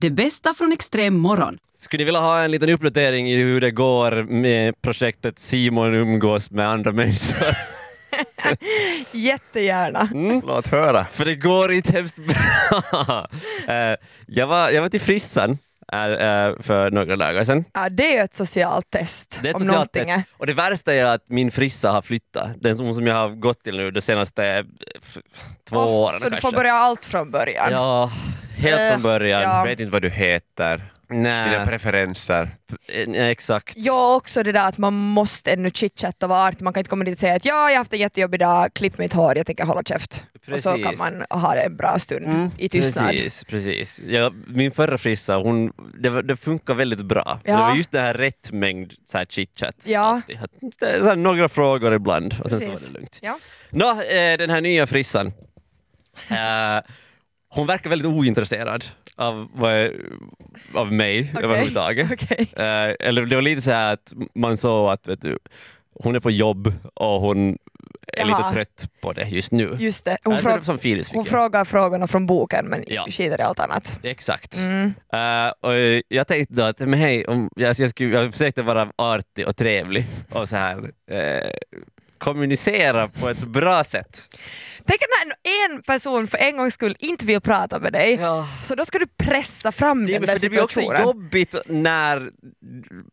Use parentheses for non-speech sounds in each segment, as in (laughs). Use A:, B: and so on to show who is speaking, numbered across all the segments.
A: Det bästa från extrem morgon.
B: Skulle ni vilja ha en liten uppdatering i hur det går med projektet Simon umgås med andra människor? (laughs)
C: Jättegärna.
B: Mm.
D: Låt höra.
B: För det går inte hemskt bra.
C: (laughs)
B: Eh, jag, var, jag var till frissan här, eh, för några dagar sedan.
C: Ja, det är ju ett socialt test.
B: Det är ett
C: om
B: socialt
C: någonting
B: test.
C: är.
B: Och det värsta är att min frissa har flyttat. Den som som jag har gått till nu de senaste eh, f- f- två
C: Åh,
B: åren
C: Så du får
B: kanske.
C: börja allt från början.
B: Ja, helt från
C: Eh,
B: början.
C: ja.
D: Jag vet inte vad du heter, dina
B: Nej,
D: preferenser.
B: eh, nej, exakt.
C: Jag också det där att man måste ännu chitchatta och vara artig, man kan inte komma dit och säga att ja, jag har haft en jätjobbig dag, klipp mitt hår, jag tänker hålla käft. Och så kan
B: Precis. Mm.
C: man ha det en bra stund Mm. i tystnad.
B: Precis, precis. Ja, min förra frissa, hon, det, var- det funkar väldigt bra.
C: Ja.
B: Det var just den här rätt mängd så här chitchat.
C: Ja.
B: alltid. Att det är Så här, några frågor ibland och sen så var
C: Precis.
B: det lugnt.
C: Ja.
B: Nå, eh, den här nya frissan. Eh, hon verkar väldigt ointresserad av, vad jag- av mig överhuvudtaget.
C: Okej.
B: Eh, eller det var lite så här att man såg att vet du, hon är på jobb och hon är
C: Jaha.
B: lite trött på det just nu.
C: Just det,
B: hon
C: hon,
B: alltså, det
C: frå-
B: var som Firis fick
C: hon
B: jag.
C: frågar frågorna från boken men
B: Ja.
C: skiter i allt annat.
B: Exakt.
C: Mm.
B: Eh, och jag tänkte då att men hej, om jag, jag, skulle, jag försökte vara artig och trevlig och så här, eh, kommunicera på ett bra sätt.
C: Tänk att när en person för en gångs skull inte vill prata med dig, så då ska du pressa fram
B: Det,
C: den
B: men för
C: där
B: det blir också
C: situationen.
B: jobbigt när,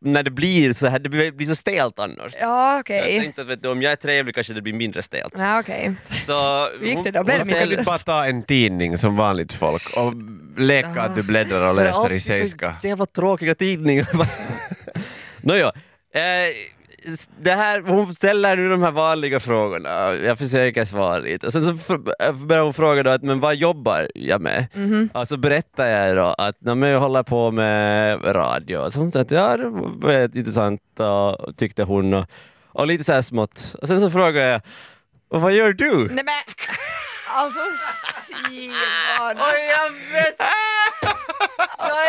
B: när det blir så här, det blir, blir så stelt annars.
C: Ja,
B: Jag
C: okej.
B: tänkte att vet du, om jag är trevlig kanske det blir mindre stelt.
C: Ja, okej.
B: Så
C: Hur gick det då?
B: hon-
C: Blev
B: hon
C: det mindre
D: Kan
B: ställde-
D: du inte bara ta en tidning som vanligt folk och leka att du bläddrar och
B: Det är
D: läser i
B: alltid så
D: seiska?
B: Jävla tråkiga (laughs) tidningar. Nåja. Eh, s- det här, hon ställer nu de här vanliga frågorna, jag försöker svara lite. Och sen så fr- äh, börjar hon fråga då att, men vad jobbar jag med? Och så berättar jag då att "Nej, men jag håller på med radio. Och så hon sa att ja, det var väldigt intressant och, tyckte hon. Och, och lite så här smått. Och sen så frågar jag, och vad gör du?
C: Nej men, alltså Simon.
B: Och jag vet... Jag,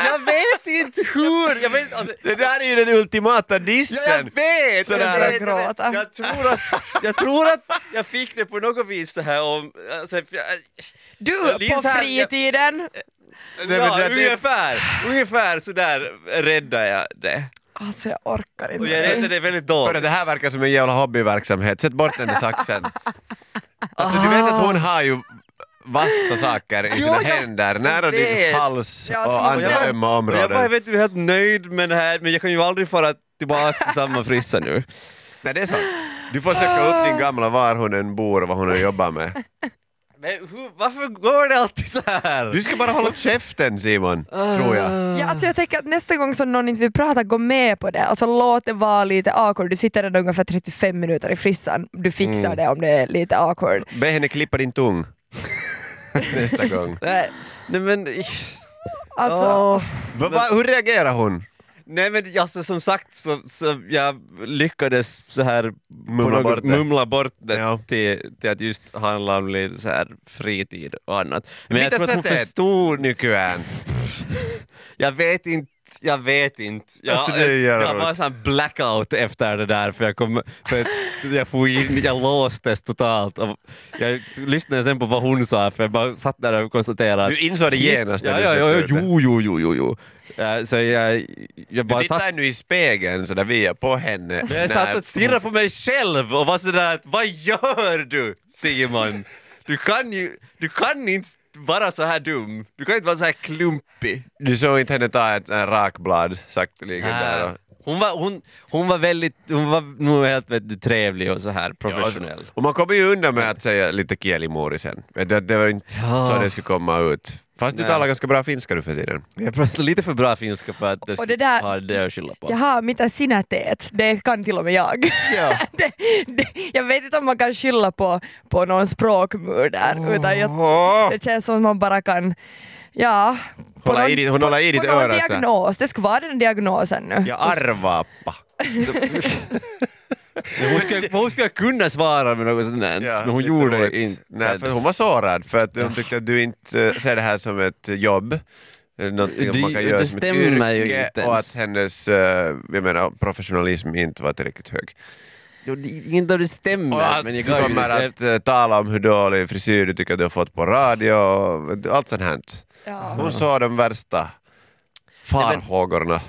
B: är... jag vet inte hur... Jag vet, alltså...
D: Det där är ju den ultimata dissen!
B: Jag vet! jag,
D: Sådär.
B: vet,
C: Jag
B: jag,
C: gråta.
B: vet. jag, tror att, jag tror att jag fick det på något vis så här om... Alltså, för jag-
C: Du
B: Lisa,
C: på
B: jag-
C: fritiden.
D: Nej, men
B: ja,
D: det- det-
B: ungefär, ungefär sådär räddar jag det.
C: Alltså jag orkar
B: Och jag
C: inte.
B: räddade det väldigt
D: För
B: dåligt.
D: det här verkar som en jävla hobbyverksamhet, sätt bort den
B: (laughs)
D: där saxen. Alltså du vet att hon har ju vassa saker i sina
B: Ah. jag-
D: händer, nära din
B: vet.
D: hals
C: Jag skulle
D: och andra
C: säga-
D: ömma
B: Och jag bara, jag
D: områden.
B: vet du, jag är helt nöjd med det här men jag kan ju aldrig fara tillbaka till samma frissa
D: (laughs)
B: nu.
D: Nej det är sant. Du får söka upp din gamla var hon än bor och vad hon än jobbar med.
B: Men hur, varför går det alltid så här?
D: Du ska
B: (laughs)
D: bara hålla käften Simon, tror jag.
C: Ja, alltså jag tänker att nästa gång som någon inte vill prata, gå med på det. Alltså låt det vara lite awkward. Du sitter där ungefär 35 minuter i frissan. Du fixar
B: Mm.
C: det om det är lite awkward.
D: Be henne klippa din tung. Nästa gång.
B: Nej, nej men...
C: Alltså,
B: Åh.
D: Va, va, hur reagerar hon?
B: Nej men alltså som sagt så, så jag lyckades så här
D: Mumla
B: på något-
D: bort det.
B: mumla bort det
D: Ja.
B: till, till att just handla om lite så här fritid och annat. Men jag
D: Mitä
B: tror att
D: sä
B: hon
D: teet
B: förstod, (laughs)
D: nykyään?
B: jag vet inte jag vet inte. Jag,
D: Alltså, det är
B: jag,
D: jävla
B: jag var
D: roligt.
B: sån blackout efter det där för jag, kom, för att jag, får in, jag låstes totalt. Och jag lyssnade sen på vad hon sa för jag bara satt där och konstaterade.
D: Du insåg det genast när
B: Ja,
D: du
B: ja,
D: satte
B: ja, ja,
D: ut det.
B: jo, jo, jo, jo, jo. Eh, Så jag, jag
D: Du
B: bara satt
D: tittar nu i spegeln sådär via på henne.
B: Men Jag satt och stirrade på mig själv och var sådär att vad gör du Simon? Du kan ju du kan inte vara så här dum. Du kan inte vara så här klumpig.
D: Du såg inte henne ta ett äh, rakblad sakteligen där och...
B: Hon var, hon, hon var väldigt, hon var nog helt vet du, trevlig och så här professionell.
D: Och man kommer ju undan med att säga lite kielimori sen. Vet du, att Det var inte
B: Ja.
D: så det skulle komma ut. Fast du
B: Nej.
D: talar ganska bra finska nu för tiden.
B: Jag pratar lite för bra finska för att jag
C: Och
B: skulle
C: det där-
B: ha det att skylla på.
C: Jaha, mitä sinä teet? Det kan till och med jag.
B: Ja.
C: (laughs) det, det, jag vet inte om man kan skylla på, på någon språkmur där, utan jag, det känns som att man bara kan, ja. på
D: Hålla i
C: någon-
D: ditt- hon håller
C: på-
D: i ditt
C: på någon
D: öra så här.
C: diagnos, det skulle vara den diagnosen nu.
D: Jag arvaappa.
B: Hon skulle, hon skulle kunna svara med något sånt där, men hon
D: lite
B: gjorde
D: roligt.
B: det inte.
D: Nej, för hon var sårad för att hon tyckte att du inte eh, ser det här som ett jobb. eh, Någonting
B: Det-
D: man kan
B: det
D: göra som ett
B: stämmer ju
D: yrke
B: inte
D: och
B: ens.
D: att hennes eh, jag menar, professionalism inte var tillräckligt hög.
B: Jo, det- Inte om det stämmer,
D: Och att
B: men
D: du
B: jag gav ju
D: kommer
B: lite-
D: att eh, tala om hur dålig frisyr du tycker att du har fått på radio och allt sånt här.
C: Ja.
D: Hon såg de värsta farhågorna.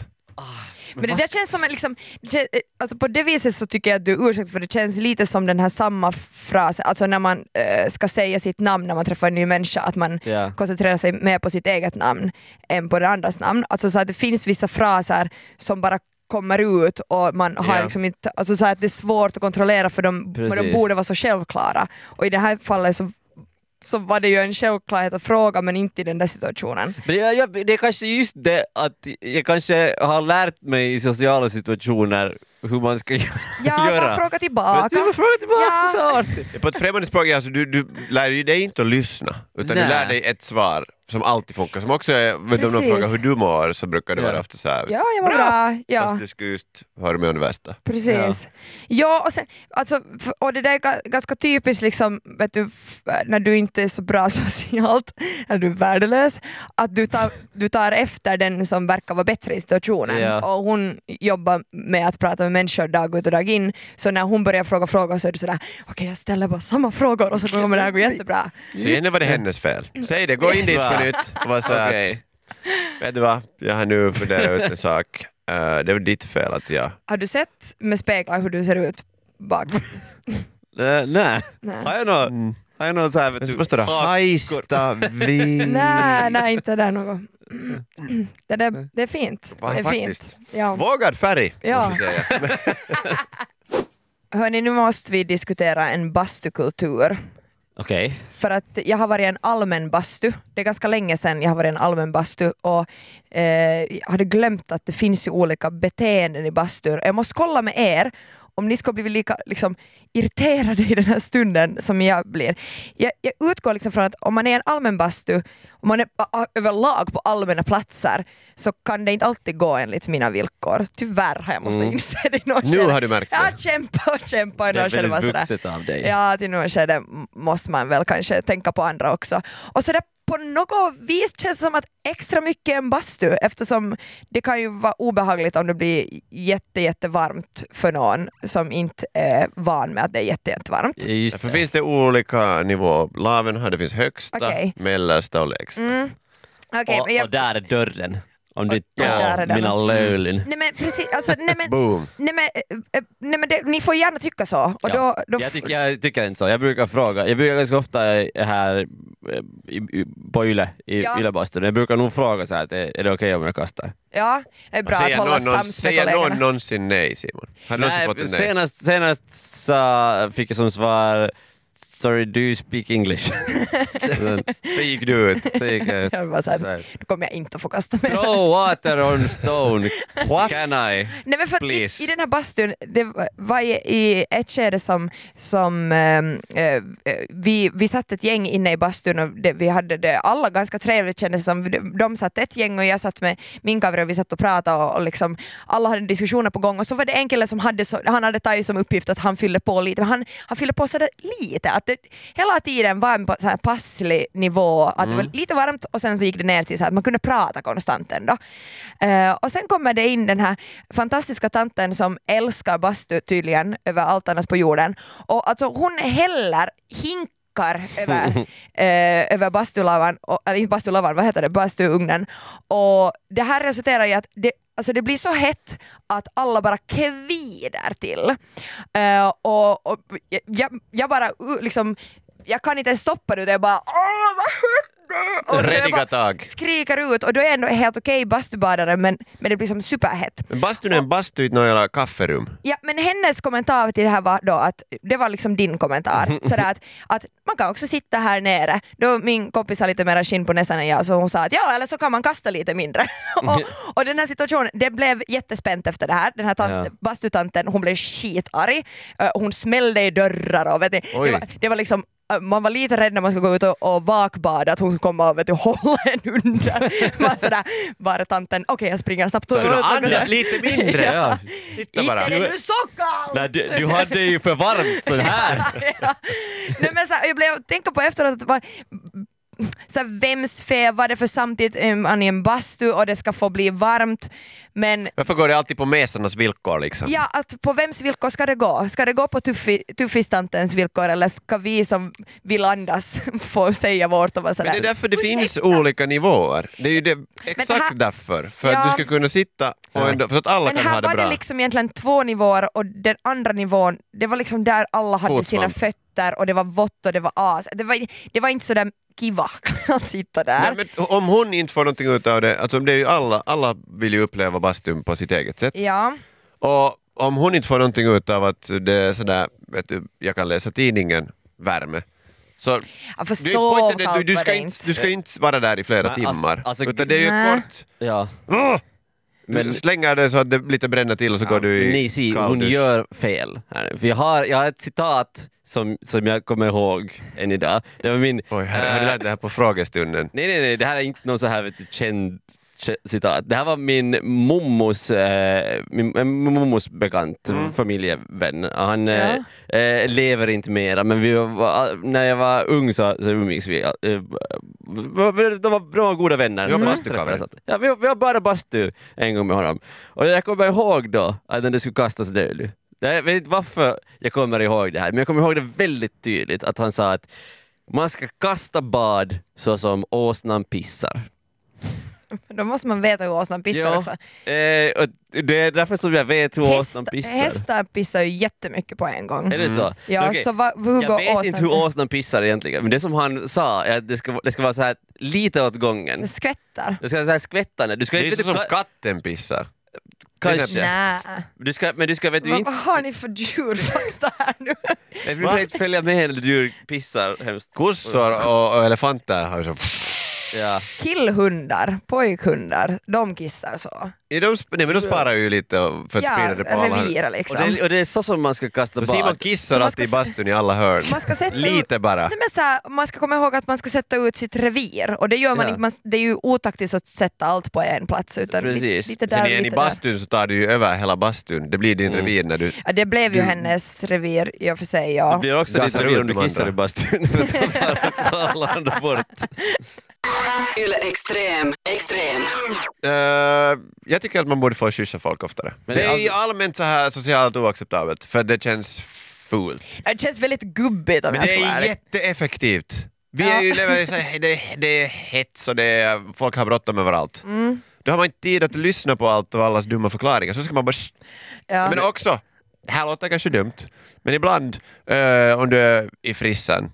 C: Men det där känns som en liksom, det kän- eh, alltså på det viset så tycker jag att du är ursäkt för det känns lite som den här samma frasen, alltså när man eh, ska säga sitt namn när man träffar en ny människa, att man
B: Ja.
C: koncentrerar sig mer på sitt eget namn än på det andras namn. Alltså så att det finns vissa fraser som bara kommer ut och man har
B: Ja.
C: liksom inte, alltså så här, det är svårt att kontrollera för de, men de
B: Precis.
C: borde vara så självklara. Och i det här fallet så, så var det ju en självklarhet att fråga men inte i den där situationen.
B: (laughs) Men jag, jag, det är kanske just det att jag kanske har lärt mig i sociala situationer hur man ska göra.
C: Ja, man frågar tillbaka.
B: Du har frågat tillbaka
C: Ja.
B: så artigt.
D: På ett främmande språk, alltså, du, du lär ju dig inte att lyssna, utan
B: Nej.
D: du lär dig ett svar som alltid funkar, som också är, vet du, om någon
C: Precis.
D: frågar hur du mår så brukar det
B: Ja.
D: vara ofta så här.
C: Ja, jag mår bra. Ja.
D: Fast du skulle just höra med om det värsta.
C: Precis. Ja, och, sen, alltså, f- och det där är ga- ganska typiskt liksom, vet du, f- när du inte är så bra (laughs) socialt, när du är värdelös, att du tar, du tar efter den som verkar vara bättre i situationen.
B: Ja.
C: Och hon jobbar med att prata med människor dag ut och dag in, så när hon börjar fråga frågor så är du sådär, okej jag ställer bara samma frågor och så kommer det här gå jättebra.
D: Så igen var det hennes fel. Säg det, gå in dit
B: Va?
D: på nytt och var så här
B: Okej.
D: att, vet du vad, jag har nu funderat ut en sak. Eh, det var ditt fel att jag...
C: Har du sett med speglar hur du ser ut bak?
B: Eh, Nej.
C: Nej.
B: Har jag något? Har jag något så här vet
D: Men så
B: du?
D: måste det
B: bakgård?
D: hajsta vi...
C: nej, nej inte där något. Det, där, det är fint.
D: Va,
C: det är
D: faktiskt.
C: fint. Ja.
D: Vågad färg,
C: Ja.
D: måste jag säga.
C: Hörni, nu måste vi diskutera en bastukultur.
B: Okej.
C: För att jag har varit i en allmän bastu. Det är ganska länge sedan jag har varit i en allmän bastu och eh, jag hade glömt att det finns ju olika beteenden i bastur. Jag måste kolla med er om ni ska bli lika liksom, irriterade i den här stunden som jag blir. Jag, jag utgår liksom från att om man är i en allmän bastu, om man är a- överlag på allmänna platser, så kan det inte alltid gå enligt mina villkor. Tyvärr har jag måste inse det i något
D: Nu
C: skede.
D: har du märkt
C: Jag har
D: det.
C: kämpat och kämpat i
B: Det är
C: något skede. bara
B: väldigt
C: sådär.
B: vuxet av dig.
C: Ja, till något skede måste man väl kanske tänka på andra också. Och så där på något vis känns det som att extra mycket är en bastu eftersom det kan ju vara obehagligt om det blir jätte, jättevarmt för någon som inte är van med att det är jätte, jättevarmt.
B: Just
D: För
B: det.
D: finns det olika nivåer? Laven har det finns högsta,
C: Okej.
D: mellersta och lägsta.
C: Okej,
B: och,
C: men jag-
B: och där är dörren. Om du
C: där är
B: tar
C: den.
B: mina lölin.
C: Nej men precis, alltså, nej
B: (laughs)
C: men,
D: Boom.
C: nej men, eh, eh, nej, men det, ni får gärna tycka så. Och
B: Ja.
C: då, då,
B: jag, tycker, jag tycker inte så. Jag brukar fråga. Jag brukar ganska ofta här eh, i, i, på Yle, i
C: Ja.
B: Ylebastun. Jag brukar nog fråga så här, att är är det okej om jag kastar?
C: ja, det är bra att
D: Säger
C: hålla
D: någon, någon,
C: sams med
D: säger någon
C: kollegorna.
D: någonsin nej, Simon? Har du någonsin fått en nej?
B: senast, senast sa, fick jag som svar Sorry, do you speak English? Sen-
D: Sen gick du
B: (laughs)
D: ut.
B: så gick jag ut.
C: (laughs) Jag bara så
B: Så
C: här,
B: här.
C: då kommer jag inte att få kasta mig.
B: Throw water on stone,
D: What?
B: can I?
C: Nej, men för att
B: Please.
C: i, I den här bastun, det var i, i ett skede som, som ehm, eh, eh, vi, vi satt ett gäng inne i bastun och det, vi hade det alla ganska trevligt kändes det som. De- De satt ett gäng och jag satt med min kamrat och vi satt och pratade och, och liksom, alla hade diskussioner på gång och så var det en kille som hade, så, han hade tagit som uppgift att han fyllde på lite, men han, han fyllde på sådär lite. Att det, hela tiden var en pa- så här passlig nivå, att det var lite varmt och sen så gick det ner till så här att man kunde prata konstant ändå. Eh, och sen kommer det in den här fantastiska tanten som älskar bastu tydligen över allt annat på jorden. Och alltså hon häller hinkar över, eh, över bastulavan, och, eller inte bastulavan, vad heter det, bastuugnen. Och det här resulterar i att det, alltså det blir så hett att alla bara kvider till. Eh, och, och jag, jag bara uh, liksom, jag kan inte ens stoppa det utan jag bara åh vad hett det är!" Och jag bara-
D: Rediga tag.
C: skriker ut och då är jag ändå helt okej bastubadare men, men det blir som superhett.
D: Men Bastun är en bastu i ett några kafferum.
C: Ja, men hennes kommentar till det här var då att, det var liksom din
D: (laughs)
C: kommentar, sådär att, att man kan också sitta här nere. Då min kompis har lite mer skinn på näsan än jag så hon sa att ja eller så kan man kasta lite mindre. (laughs)
D: (laughs)
C: och, och den här situationen, det blev jättespänt efter det här. Den här tant,
B: Ja.
C: bastutanten hon blev skitarg, Eh, hon smällde i dörrar och vet ni, det
D: Oj.
C: var, det var liksom eh, man var lite rädd när man skulle gå ut och, och vakbada att hon skulle komma och vet du, (laughs) hålla en under. Man sådär, var är tanten? Okej jag springer snabbt.
D: Kunde andas lite mindre.
B: (laughs) Ja.
D: Titta
C: Inte
D: bara.
C: är det nu så kallt!
B: Nej, du, du hade ju för varmt så här.
D: (laughs)
C: ja. Nej, men så här, jag blev tänka på efteråt att det var så här, vems fel var det för samtidigt um, är man i en bastu och det ska få bli varmt men
D: Varför går det alltid på mesarnas villkor liksom?
C: Ja, att på vems villkor ska det gå? Ska det gå på tuffi- tuffistantens villkor eller ska vi som vill andas (laughs) få säga vårt och vara sådär?
D: Men det är därför det finns olika nivåer. Det är ju det, exakt
C: här-
D: därför. För
C: Ja.
D: att du ska kunna sitta och ändå, för att alla
C: Men
D: kan ha
C: här
D: det
C: var
D: bra.
C: det liksom egentligen två nivåer och den andra nivån, det var liksom där alla hade sina
D: Fotsvamp.
C: fötter och det var vått och det var as. Det var, det var inte sådär kiva (laughs) att sitta där.
D: Nej, men om hon inte får någonting ut av det, alltså det är ju alla, alla vill ju uppleva bastun på sitt eget sätt.
C: Ja,
D: Och om hon inte får någonting ut av att det är sådär, vet du, jag kan läsa tidningen, värme. Så,
C: Ja, för
D: du,
C: så
D: poängen är att du,
C: kallt
D: du,
C: var
D: ska
C: det
D: inte,
C: inte.
D: du ska inte vara där i flera
B: Men alltså-
D: timmar.
B: alltså-
D: utan det är ju
C: Nej.
D: ett kort...
B: Ja.
D: Du
B: Men-
D: slänger det så att det lite bränner till och så går du i
B: Ni ser, hon
D: kalldusch.
B: gör fel. här. För jag, har, jag har ett citat som, som jag kommer ihåg än idag. Det var min...
D: Oj, har, har
B: eh,
D: du lärt dig det här på frågestunden?
B: Nej, nej, nej, det här är inte någon så här vet du, känd kä- citat. Det här var min mommos, eh, min, en mommos bekant, familjevän. Han eh, eh, lever inte mera, men vi var, ah, när jag var ung så, så umgicks vi. Eh, de, var, de var goda vänner.
D: Du var
C: Mm.
B: Så
D: bastukaverer.
B: träffades alltid. Ja, vi, var- vi var bara bastu en gång med honom. Och jag kommer ihåg då att när det skulle kastas död. Jag vet inte varför jag kommer ihåg det här, men jag kommer ihåg det väldigt tydligt att han sa att man ska kasta bad så som åsnan pissar.
C: Då måste man veta hur åsnan pissar
B: Ja,
C: också.
B: eh, och det är därför som jag vet hur åsnan
C: Häst-
B: pissar.
C: hästar pissar ju jättemycket på en gång.
B: Är det så?
C: Ja,
B: Okej.
C: så va, hur
B: jag
C: går
B: vet
C: åsnan?
B: inte hur åsnan pissar egentligen, men det som han sa är att det ska, det ska vara så här lite åt gången.
C: Den skvättar.
B: Det ska vara så här skvättande. Du ska
D: Det är
B: inte...
D: så som
B: ka-
D: katten pissar.
B: kanske.
C: Nej.
B: Du ska, men du ska, vet du
C: Vad,
B: inte...
C: vad har ni för djurfakta här nu?
B: Jag brukar inte Eh, följa med när djur pissar hemskt.
D: Kossor och, och elefanter har ju så...
B: Ja.
C: Killhundar, pojkhundar, de kissar så.
D: Ja, De, sp- nej, men de sparar ju lite för att sprida det på alla hörn.
C: revir
B: Och,
C: liksom.
B: det, och det är så som man ska kasta
D: Så
B: bad.
D: Simon
C: Så
D: kissar
C: man
D: alltid i
C: ska se-
D: bastun i alla hörn.
C: Man ska sätta
D: Lite bara.
C: Nej, men så här, man ska komma ihåg att man ska sätta ut sitt revir och det gör man
B: Ja.
C: inte, man, det är ju otaktiskt att sätta allt på en plats utan
B: Precis.
C: lite, lite där
D: Sen
C: och
D: igen i
C: lite där.
D: bastun så tar du ju över hela bastun. Det blir din revir när du...
C: Ja, det blev ju hennes revir i och för sig
B: Det
C: ja.
B: blir också
D: Gasar
B: lite revir
D: ut
B: om du
D: de
B: kissar
D: andra.
B: i
D: (laughs)
B: bastun. (laughs) För då faller också alla andra bort.
A: Yle Extrem. Extrem.
D: Eh, jag tycker att man borde få kyssa folk oftare.
B: Men
D: det
B: det är
D: är ju allmänt så här socialt oacceptabelt för det känns fult.
C: Det känns väldigt gubbigt om
D: Men
C: jag
D: det
C: ska vara
D: är
C: ärlig.
D: jätteeffektivt. Vi
C: alltså, Ja.
D: är ju lever i så här, det, det är hets och det är, folk har bråttom överallt. Då har man inte tid att lyssna på allt och allas dumma förklaringar. Så ska man bara...
C: ja.
D: Men också, det här låter kanske dumt, men ibland eh, om du är i frissan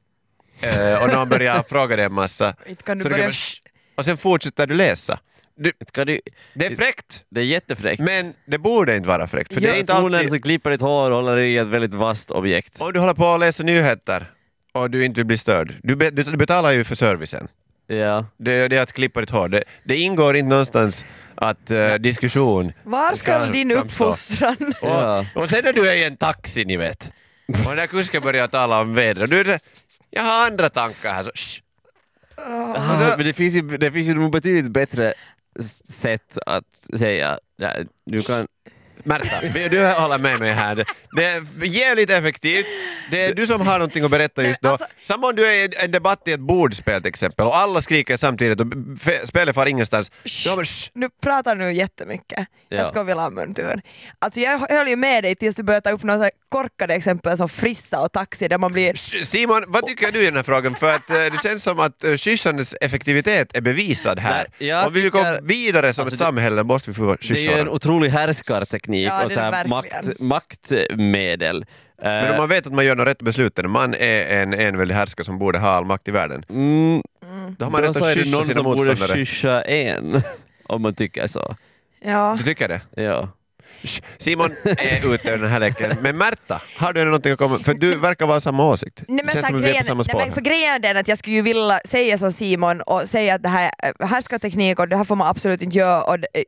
D: eh, och någon börjar (laughs) fråga dig en massa,
C: Inte kan du
D: så du
C: börja-
D: kan bara, "Shh", och sen fortsätter du läsa. Du,
B: Ska du,
D: det är fräckt,
B: det är jättefräckt.
D: men det borde inte vara fräckt. För det är inte
B: Personen
D: alltid,
B: som klipper ditt hår och håller i ett väldigt vasst objekt.
D: om du håller på att läsa nyheter och du inte blir störd, du, be, du betalar ju för servicen.
B: Ja.
D: Det, det är att klippa ditt hår. Det, det ingår inte någonstans att eh, diskussion
C: Var
D: ska
C: föll din
D: framstå.
C: uppfostran? (laughs)
D: Och,
B: Ja.
D: och sen när du är i en taxi, ni vet, och den där kusken börjar tala om vädret, du är så- jag har andra tankar här, så shh. Alltså-
B: Ah, men det finns ju, det finns ju nog betydligt bättre s- sätt att säga "Nej, du kan...
D: Märta, vi- du håller med mig här. Det- Det är jävligt effektivt. Det är du som har någonting att berätta just
C: Nej,
D: då.
C: alltså-
D: Samma om du är i en- en debatt i ett bordspel till exempel och alla skriker samtidigt och b- fe- spelet far ingenstans. Ja, men, shh.
C: nu pratar nu jättemycket.
B: Ja.
C: Jag ska vilja ha muntur. Alltså jag höll ju med dig tills du började ta upp några så här korkade exempel som frissa och taxi där man blir...
D: Shh, Simon, vad tycker du i den här frågan? För att eh, det känns som att eh, kyssandets effektivitet är bevisad här.
B: Nej, jag
D: Om vi vill gå
B: tycker-
D: vidare som
B: Alltså,
D: ett
B: det-
D: samhälle måste vi få
B: Det är ju
D: kyssa
B: en
D: varandra.
B: otrolig härskarteknik
C: Ja, det är
B: och så här
C: det
B: makt,
C: verkligen.
B: maktmedel.
D: Men
B: Eh,
D: om man vet att man gör de rätta besluten, man är en enväldig härskare som borde ha all makt i världen,
B: mm,
D: då har man
B: då
D: rätt
B: så är
D: att
B: det
D: kyssa
B: någon
D: sina
B: som borde
D: motståndare.
B: kyssa en, (laughs) om man tycker så.
C: Ja.
D: Du tycker det?
B: Ja.
D: Sh- Simon är ute ur den här leken. Men Märta, har du någonting att komma För du verkar vara samma åsikt.
C: Nej, men
D: Känns
C: så här,
D: som att vi är på
C: grejen,
D: samma spår.
C: nej, men för grejen är den att jag skulle ju vilja säga som Simon och säga att det här är härskarteknik och det här får man absolut inte göra och det, eh,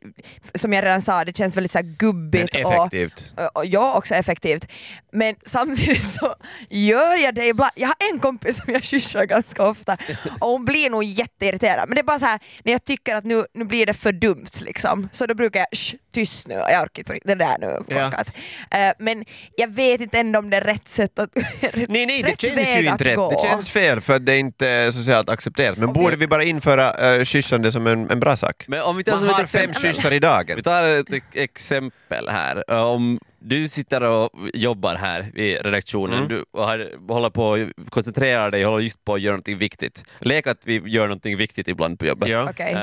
C: som jag redan sa, det känns väldigt så här
D: men
C: gubbigt och,
D: effektivt.
C: och jag också effektivt. Men samtidigt så gör jag det ibland. Jag har en kompis som jag kyssar ganska ofta och hon blir nog jätteirriterad. Men det är bara så här när jag tycker att nu, nu blir det för dumt liksom. Så då brukar jag sh, tyst nu, jag orkar inte på riktigt, det där nu är
D: Ja.
C: korkat. Eh, Men jag vet inte ändå om det är rätt sätt att...
D: Nej, nej,
C: rätt
D: det känns
C: väg
D: ju
C: att
D: inte rätt.
C: gå.
D: Det känns fel för att det är inte är socialt accepterat. Men borde vi bara införa uh, kyssande som en, en bra sak?
B: Men om vi tar
D: Man
B: som ett
D: har fem
B: exempel.
D: kyssar i dagen.
B: Vi tar ett ex- exempel här. Om du sitter och jobbar här i redaktionen
D: Mm.
B: du har, håller på att koncentrera dig, håller just på att göra någonting viktigt. Lek att vi gör någonting viktigt ibland på jobbet.
D: Ja.
C: Okej.
B: Eh,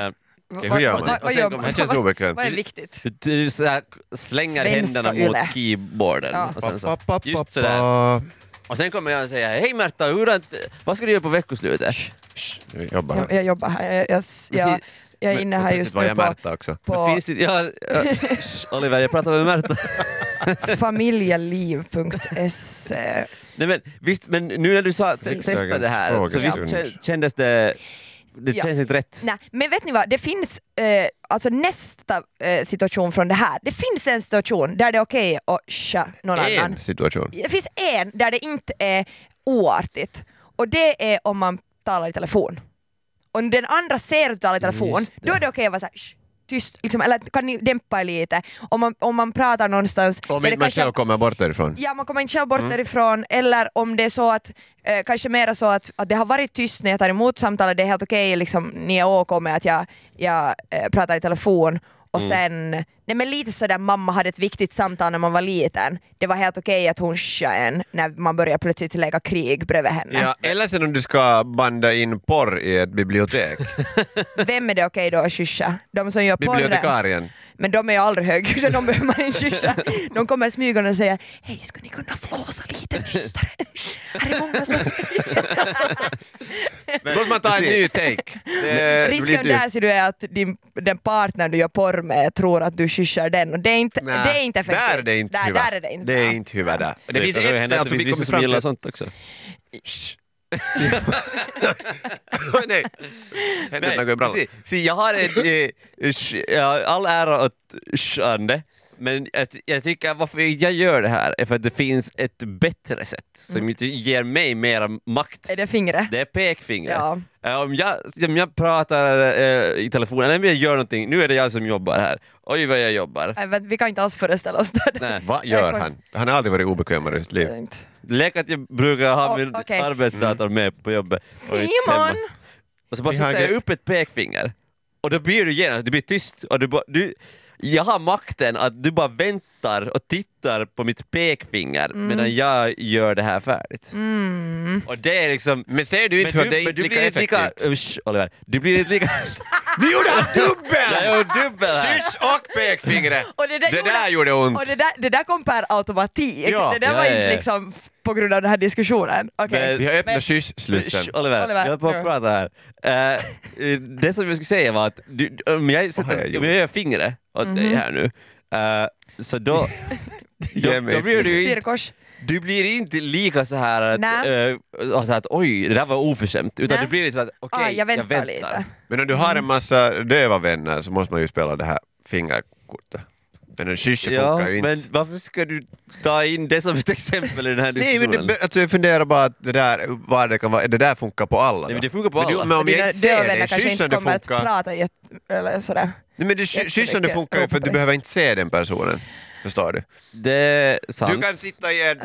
C: Vad-
D: Okej, hur gör
C: vad-
D: man?
C: vad- Vad gör man?
D: Det känns obekvämt.
C: Vad är viktigt?
B: Du så här, slänger
C: Svenska
B: händerna
C: yle.
B: mot keyboarden.
C: Ja.
B: Och sen så,
D: Pa, pa, pa,
B: just sådär.
D: pa.
B: Och sen kommer jag och säger Hej Märta, hur har det- vad ska du göra på veckoslutet?
D: Shh, Vi jobbar.
C: Jag, jag jobbar här, jag, jag, jag, jag är inne här
D: Plötsligt
C: just
D: var
C: nu
D: jag
C: på,
D: Märta också.
B: Det
C: på
B: finns inte, jag,
C: (laughs)
B: jag, Oliver, jag pratar med Märta.
C: familjeliv.se.
B: Nej, men, visst, men nu när du sa,
C: Riksdagens
B: testade det här, så visst
D: frågestund.
B: kä- kändes det... Det
C: Ja.
B: känns inte rätt.
C: Nej, men vet ni vad, det finns eh, alltså nästa eh, situation från det här. Det finns en situation där det är okej att tja någon annan.
D: En situation.
C: Det finns en där det inte är oartigt och det är om man talar i telefon. Om den andra ser att du talar i telefon,
B: Just det.
C: då är det okej att vara såhär "Shh, tyst, liksom, eller kan ni dämpa er lite? Om man, om man pratar någonstans...
D: Om
C: där
D: inte
C: det
D: man
C: kanske-
D: själv kommer bort därifrån.
C: Ja, man kommer inte själv bort därifrån, eller om det är så att, eh, kanske mera så att, att det har varit tyst när jag tar emot samtalet, det är helt okej, liksom, ni är OK med att jag, jag eh, pratar i telefon, och sen, nej men lite sådär mamma hade ett viktigt samtal när man var liten, det var helt okej att hon tjade en när man började plötsligt lägga krig bredvid henne.
D: Ja, eller sen om du ska banda in porr i ett
C: (laughs)
D: bibliotek.
C: (laughs) Vem är det okej då att kyssa? De som gör porren?
D: Bibliotekarien.
C: (laughs) Men de är ju aldrig högljudda, de behöver man inte kyssa. De kommer smygande och säger hej, skulle ni kunna flåsa lite tystare? Här är många som...
D: Då måste man ta en
C: (laughs)
D: ny take. Eh, Det blir
C: Risken
D: dyrt.
C: där ser du är att din, den partner du gör porr med tror att du kyssar den och det är inte,
D: Nej,
C: det är inte effektivt.
D: Där är det inte
C: där,
D: hyvä.
C: där är det inte.
D: Det är
C: bra.
D: inte hyvä där. Det, finns
B: kan ju
D: ett
B: hända
D: ställe
B: att
D: som
B: det
D: vi
B: finns vissa
D: kommer
B: som
D: fram
B: gillar
D: till.
B: sånt också.
D: (laughs) Nej. Händer något i brallan.
B: precis. Så jag har ett, eh, sh- ja, all ära åt shande, men jag, ty- jag tycker varför jag gör det här är för att det finns ett bättre sätt som
C: Mm.
B: inte ger mig mera makt.
C: Är det fingret?
B: Det är pekfingret.
C: Ja.
B: Eh, Om, jag, om jag pratar eh, i telefonen, eller om jag gör någonting, nu är det jag som jobbar här. Oj vad jag
C: (laughs)
B: jobbar.
C: Nej, men vi kan inte alls föreställa oss det.
B: Nej.
D: Vad gör han? Han har aldrig varit obekvämare i sitt
C: Det är
D: liv.
C: inte.
B: Lek att jag brukar ha
C: Oh,
B: min
C: okej.
B: arbetsdator med på jobbet. och inte hemma.
C: Simon!
B: Och så bara
D: Mm. Vi har
B: sätter jag
D: gre-
B: upp ett pekfinger och då blir du genast, det blir tyst och du bara, du, jag har makten att du bara väntar och tittar på mitt pekfinger medan jag gör det här färdigt. Och det är liksom...
D: Men ser du inte hur det är inte lika effektivt?
B: uh, sh, Oliver, du blir inte
D: (laughs)
B: lika...
D: Nu gjorde han
B: jag
D: dubbel!
B: gör dubbel här!
D: Kyss och pekfingret!
C: Och det där
D: Det
C: gjorde-
D: där gjorde ont.
C: Och det där, det där kom per automatik.
D: Ja.
C: Det där
B: Ja,
C: var
B: ja,
C: inte
B: ja.
C: liksom f- på grund av den här diskussionen. Okej.
D: Vi har
C: Men-
D: öppnat
B: Sh,
D: kyss-slussen.
B: Oliver,
C: Oliver,
B: jag höll på
C: ja.
B: att prata här. Eh, eh, det som jag skulle säga var att du, om jag,
D: Vad har jag
B: sätter,
D: gjort?
B: om jag gör fingret åt
C: Mhm.
B: dig här nu, eh, så
D: (laughs)
B: då, då,
D: Ge
B: då
D: mig
B: blir du inte
C: Cirkus.
B: Du blir inte lika så här att,
C: Nej.
B: eh, alltså att oj, det där var oförskämt, utan
C: Nej.
B: du blir lite så att okej,
C: ah, jag väntar, lite.
D: Men om du har
B: Mm.
D: en massa döva vänner så måste man ju spela det här fingerkortet. Men en kyss
B: Ja,
D: funkar ju
B: men
D: inte.
B: varför ska du ta in det som ett (laughs) exempel i den här
D: Nej,
B: diskussionen?
D: men det, alltså, jag funderar bara att det där, vad det kan vara, det där funkar på alla.
B: Nej,
D: då.
B: men det funkar på
D: men du-
B: alla.
D: Men om jag
C: Dina
D: inte ser
C: dövvänner
D: dig,
C: kanske inte
D: kyssande
C: kommer att
D: funkar.
C: prata jätte... Eller sådär.
D: Nej, men det, ky- kyssande
C: jättemycket
D: funkar ju för att du
C: råpar.
D: behöver inte se den personen. Förstår du?
B: det är sant.
D: Du kan sitta i en,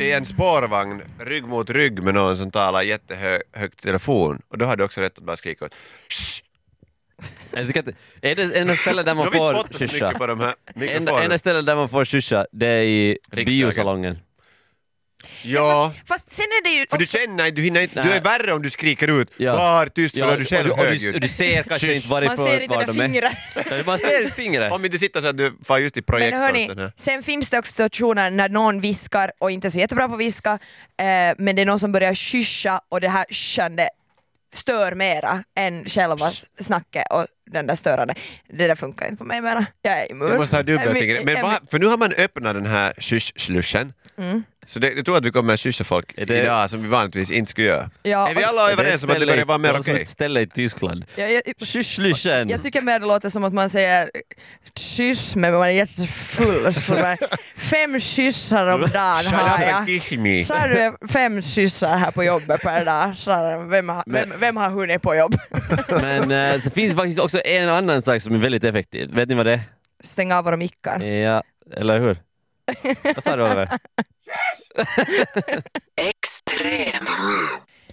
D: i en spårvagn rygg mot rygg med någon som talar jättehögt i telefon och då har du också rätt att bara skrika åt Shh!
B: Jag tycker att, är det enda stället
D: (laughs)
B: där
D: Då
B: man
D: har vi
B: får
D: spottat så
B: kyssa?
D: mycket på de här
B: Enda,
D: mikrofonerna.
B: enda stället där man får kyssa, det är i
D: Riksdagen.
B: biosalongen.
D: Ja,
C: Fast sen är det ju...
D: för du känner inte, du hinner inte, du är
B: Nej.
D: värre om du skriker ut
B: Ja.
D: var tyst för då är du
B: och,
D: själv
B: och, och, du, och
D: högljudd.
B: du ser kanske
D: Kyss.
B: inte
C: Man ser
B: varifrån
C: inte
B: var
C: dina
B: de är. (laughs)
C: fingrar.
B: Så Man ser inte fingret.
D: Om inte sitter så att du far just i
C: Men
D: projektorn. den
C: hörni,
D: här.
C: sen finns det också situationer när någon viskar och inte är så jättebra på att viska, eh, men det är någon som börjar kyssa och det här kyssande stör mera än själva snacket och den där störande. Det där funkar inte på mig mera. Jag är immun.
D: Du måste ha
C: Jag är
D: dubbla
C: mi-
D: fingrar.
C: jag
D: Men
C: är
D: vad, för nu har man öppnat den här kyss-sluschen.
C: Mm.
D: Så det, jag tror att vi kommer att kyssa folk
B: Är det-
D: idag som vi vanligtvis inte skulle göra.
C: Ja,
D: är vi
C: och-
D: alla
B: Är
D: överens om att det
B: ställe i-
D: börjar vara mer
B: var som
D: okej?
B: ett ställe i Tyskland.
C: mi- jag, jag,
B: Kysslyschen!
C: jag tycker mer det låter som att man säger kyss men man är jättefull. Så man, fem kyssar om dagen
D: (laughs) Shut up
C: har
D: and
C: jag.
D: kiss me.
C: Så har du fem kyssar här på jobbet per dag. Så har du- vem, har- vem, vem har hunnit på jobb?
B: Men eh, så finns det faktiskt också en annan sak som är väldigt effektiv. Vet ni vad det är?
C: stänga av våra mickar.
B: Ja, eller hur? Vad sa du Oliver?
A: Extrem.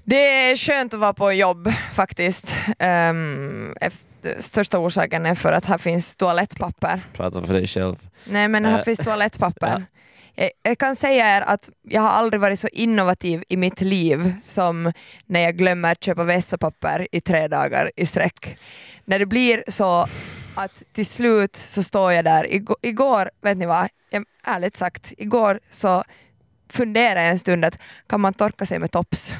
C: Det är skönt att vara på jobb faktiskt. Ehm, efter, största orsaken är för att här finns toalettpapper.
B: Prata för dig själv.
C: Nej men här
B: Eh,
C: finns toalettpapper. Jag, jag kan säga er att jag har aldrig varit så innovativ i mitt liv som när jag glömmer att köpa vässapapper i tre dagar i sträck. När det blir så att till slut så står jag där. Igo- igår, vet ni vad, jag, ärligt sagt, igår så funderade jag en stund att kan man torka sig med tops?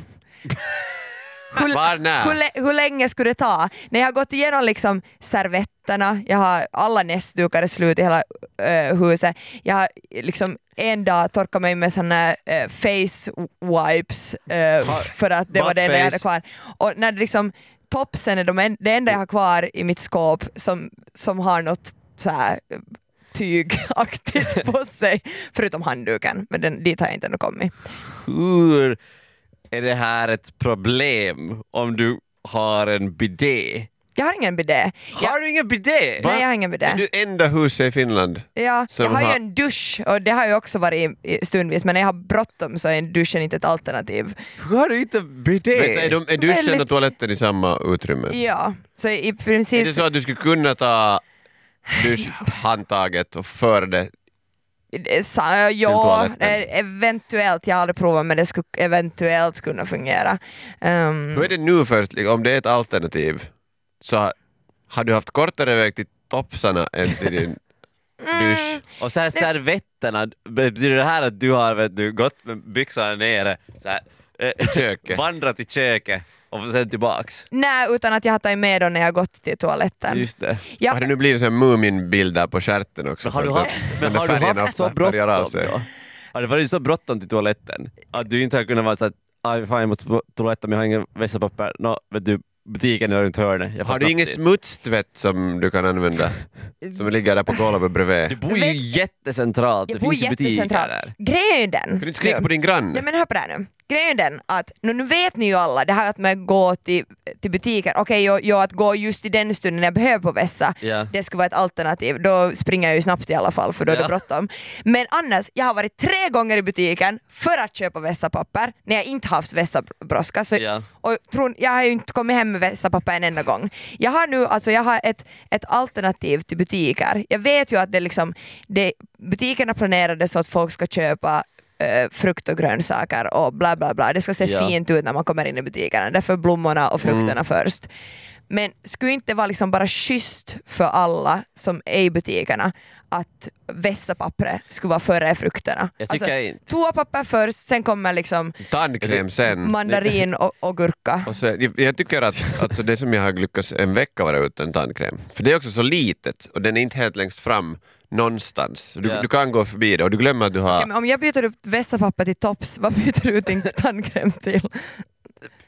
C: Hur-
D: Svar
C: hur,
D: nej.
C: lä- hur länge skulle det ta? När jag har gått igenom liksom servetterna, jag har alla näsdukar är slut i hela eh, huset. Jag har liksom en dag torkat mig med såna eh, face wipes eh,
D: Ha-
C: för att det var det enda jag hade
D: buttface.
C: kvar. Och när det liksom topsen är de en, det enda jag har kvar i mitt skåp som, som har något så här eh, tygaktigt (laughs) på sig, förutom handduken, men den, dit har jag inte ännu kommit.
B: Hur är det här ett problem om du har en bidé?
C: Jag har ingen bidé. Jag,
B: Har du ingen bidé?
C: nej, jag har ingen bidé.
D: Är du enda huset i Finland?
C: Ja,
D: Så
C: jag
D: man
C: har ju
D: har-
C: en dusch och det har ju också varit i- i stundvis men när jag har bråttom så är duschen inte ett alternativ.
D: Mm.
B: Hur har du inte bidé?
D: Vänta, är, de, är duschen
C: Väldigt-
D: och toaletten i samma utrymme?
C: Ja, så i
D: Är
C: princip...
D: det så att du skulle kunna ta duschhandtaget och föra det?
C: Sa, ja,
D: toaletten?
C: eh, eventuellt. Jag har aldrig provat men det skulle eventuellt kunna fungera. Ehm,
D: Hur är det nu först, liksom, om det är ett alternativ, så ha- har du haft kortare väg till topsarna än till din
B: Mm.
D: dusch?
B: Och så här servetterna, betyder det här att du har vet du, gått med byxorna nere, så här, eh,
D: Köket.
B: vandrat till köket och sen tillbaks?
C: Nej, utan att jag har tagit med dem när jag har gått till toaletten.
B: Just det.
C: Ja,
D: Har det nu blivit så här Muminbilder på stjärten också?
B: Men har du
D: för att
B: haft,
D: de-
B: men
D: de
B: har du
D: färgerna
B: haft så
D: ofta färgar av
B: bråttom
D: sig.
B: då? Har det varit så bråttom till toaletten att du inte har kunnat vara såhär Aj, fan jag måste på toaletten men jag har ingen vässapapper. Nå, vet du, butiken är runt hörnet. Jag får
D: Har du
B: snabbt
D: ingen
B: dit."
D: smutstvätt som du
B: (laughs)
D: kan använda? Som ligger där på golvet bredvid?
B: Du
D: Kan
B: bor ju
C: Vet-
B: jättecentralt.
C: jag
B: Det
C: bor
B: finns ju butiker
C: jättecentralt.
B: där.
C: Grejen är ju den.
D: du inte skrika på din
C: Nej
D: granne?
C: men hör på det här nu. Grejen är den att, nu, nu vet ni ju alla det här att man går till, till butiken, okej jag, jag att gå just i den stunden jag behöver på vässa,
B: Ja.
C: det skulle vara ett alternativ, då springer jag ju snabbt i alla fall för då är det
B: Ja.
C: bråttom. Men annars, jag har varit tre gånger i butiken för att köpa vässapapper när jag inte haft vässabrådska. Så,
B: Ja.
C: och tror, jag har ju inte kommit hem med vässapapper en enda gång. Jag har nu alltså, jag har ett, ett alternativ till butiker. Jag vet ju att det liksom, det, butikerna planerade så att folk ska köpa eh, frukt och grönsaker och bla bla bla. Det ska se
B: Ja. Mm.
C: fint ut när man kommer in i butikerna. Därför blommorna och frukterna först. Men skulle inte det vara liksom bara schysst för alla som är i butikerna att vässa pappret skulle vara före frukterna?
B: Jag Mm. tycker inte.
C: Toapapper först, sen kommer liksom
D: Tandkräm sen?
C: mandarin och, och gurka.
D: Och sen, jag- jag tycker att alltså det som jag har lyckats en vecka vara utan tandkräm, för det är också så litet och den är inte helt längst fram någonstans. Du,
B: Ja.
D: du kan gå förbi det och du glömmer att du har...
C: Ja, men om jag byter upp vässapapper till tops, vad (laughs) byter du ut din tandkräm till?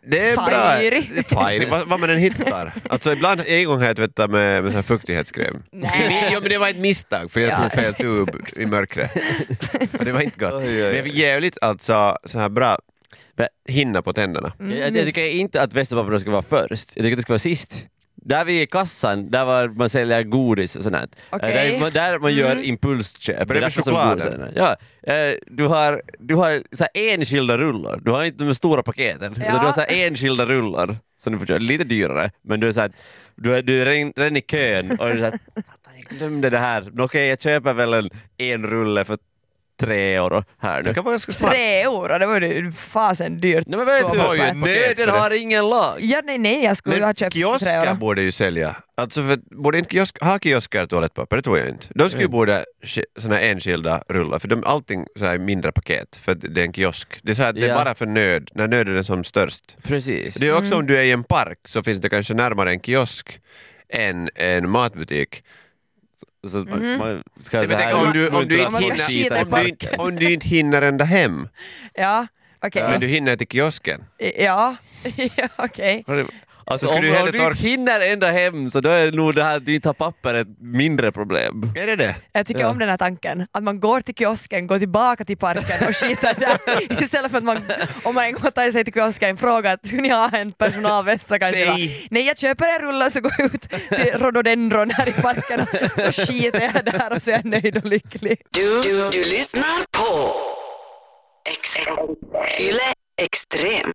D: Det är
C: Fajri.
D: bra. Fajri. Vad, vad man än hittar. Alltså ibland, en gång har jag tvättat med, med sån här fuktighetskräm.
C: Nej.
D: Jo men det var ett misstag för jag
C: Ja.
D: tog fel tub i mörkret. Och det var inte gott.
B: Oj, oj, oj.
D: Men jag fick jävligt alltså, så här bra
B: Men-
D: hinna på tänderna.
C: Mm,
B: Jag, jag tycker inte att västerpapperna ska vara först. Jag tycker att det ska vara sist. Där vi är i kassan, där var man säljer godis och sånt. här.
C: Okej. Mm.
B: Där, man, där man gör impulsköp. Det är
D: Bredvid
B: därför som
D: chokladen.
B: godisen- Ja, eh, du har, du har så här enskilda rullar. Du har inte de stora paketen.
C: Ja.
B: Utan du har så här enskilda rullar. Som du får köpa. Lite dyrare, men du är, så här, du är, du är redan, redan i kön och du är
C: (laughs)
B: så här, "Satan, jag glömde det här. Men Okej, jag köper väl en, en rulle för tre euro här nu.
D: Det kan vara ganska smart.
C: Tre euro, det var ju fasen dyrt.
B: Nej, men vet du,
D: Det var ju ett paket för
B: nöden
D: det.
B: har ingen lag.
C: Ja, nej, nej, jag skulle ju ha
D: Men
C: köpt för tre
D: kiosker
C: euro.
D: borde ju sälja. Alltså för, borde inte kiosk, ha kiosker toalettpapper? Det tror jag inte. De
C: Mm.
D: skulle ju borde sk- såna här enskilda rullar, för de, allting så här i mindre paket, för att det är en kiosk. Det är, så här, det är
B: Ja.
D: bara för nöd, när nöden är som störst.
B: Precis.
D: Det är också om du är i en park så finns det kanske närmare en kiosk än en matbutik.
B: Så att man, man ska
D: Nej, men
B: så här,
D: tänk om du, om, du
B: uppmuntra
D: inte
B: folk
C: ska
B: att
C: skita i
D: hinner, om, du
B: parken.
D: inte, om du inte hinner ända hem,
C: Ja, okej.
D: men du hinner till kiosken.
C: (laughs) Ja, ja okej.
B: Har du- Alltså,
D: Så
B: om,
D: skulle du
B: om
D: hellre
B: du
D: torka-
B: inte hinner ända hem så då är nog det här att du inte har papper ett mindre problem.
D: Är det det?
C: Jag tycker
B: Ja.
C: om den här tanken, att man går till kiosken, går tillbaka till parken och skiter där istället för att man, om man en gång tar sig till kiosken, frågar att skulle ni ha en personalvässa kanske?
D: Nej.
C: Va? Nej, jag köper en rulle och så går jag ut till rhododendron här i parken och så skiter jag där och så är jag nöjd och lycklig.
A: Du, du, du lyssnar på Ex- Yle Extrem.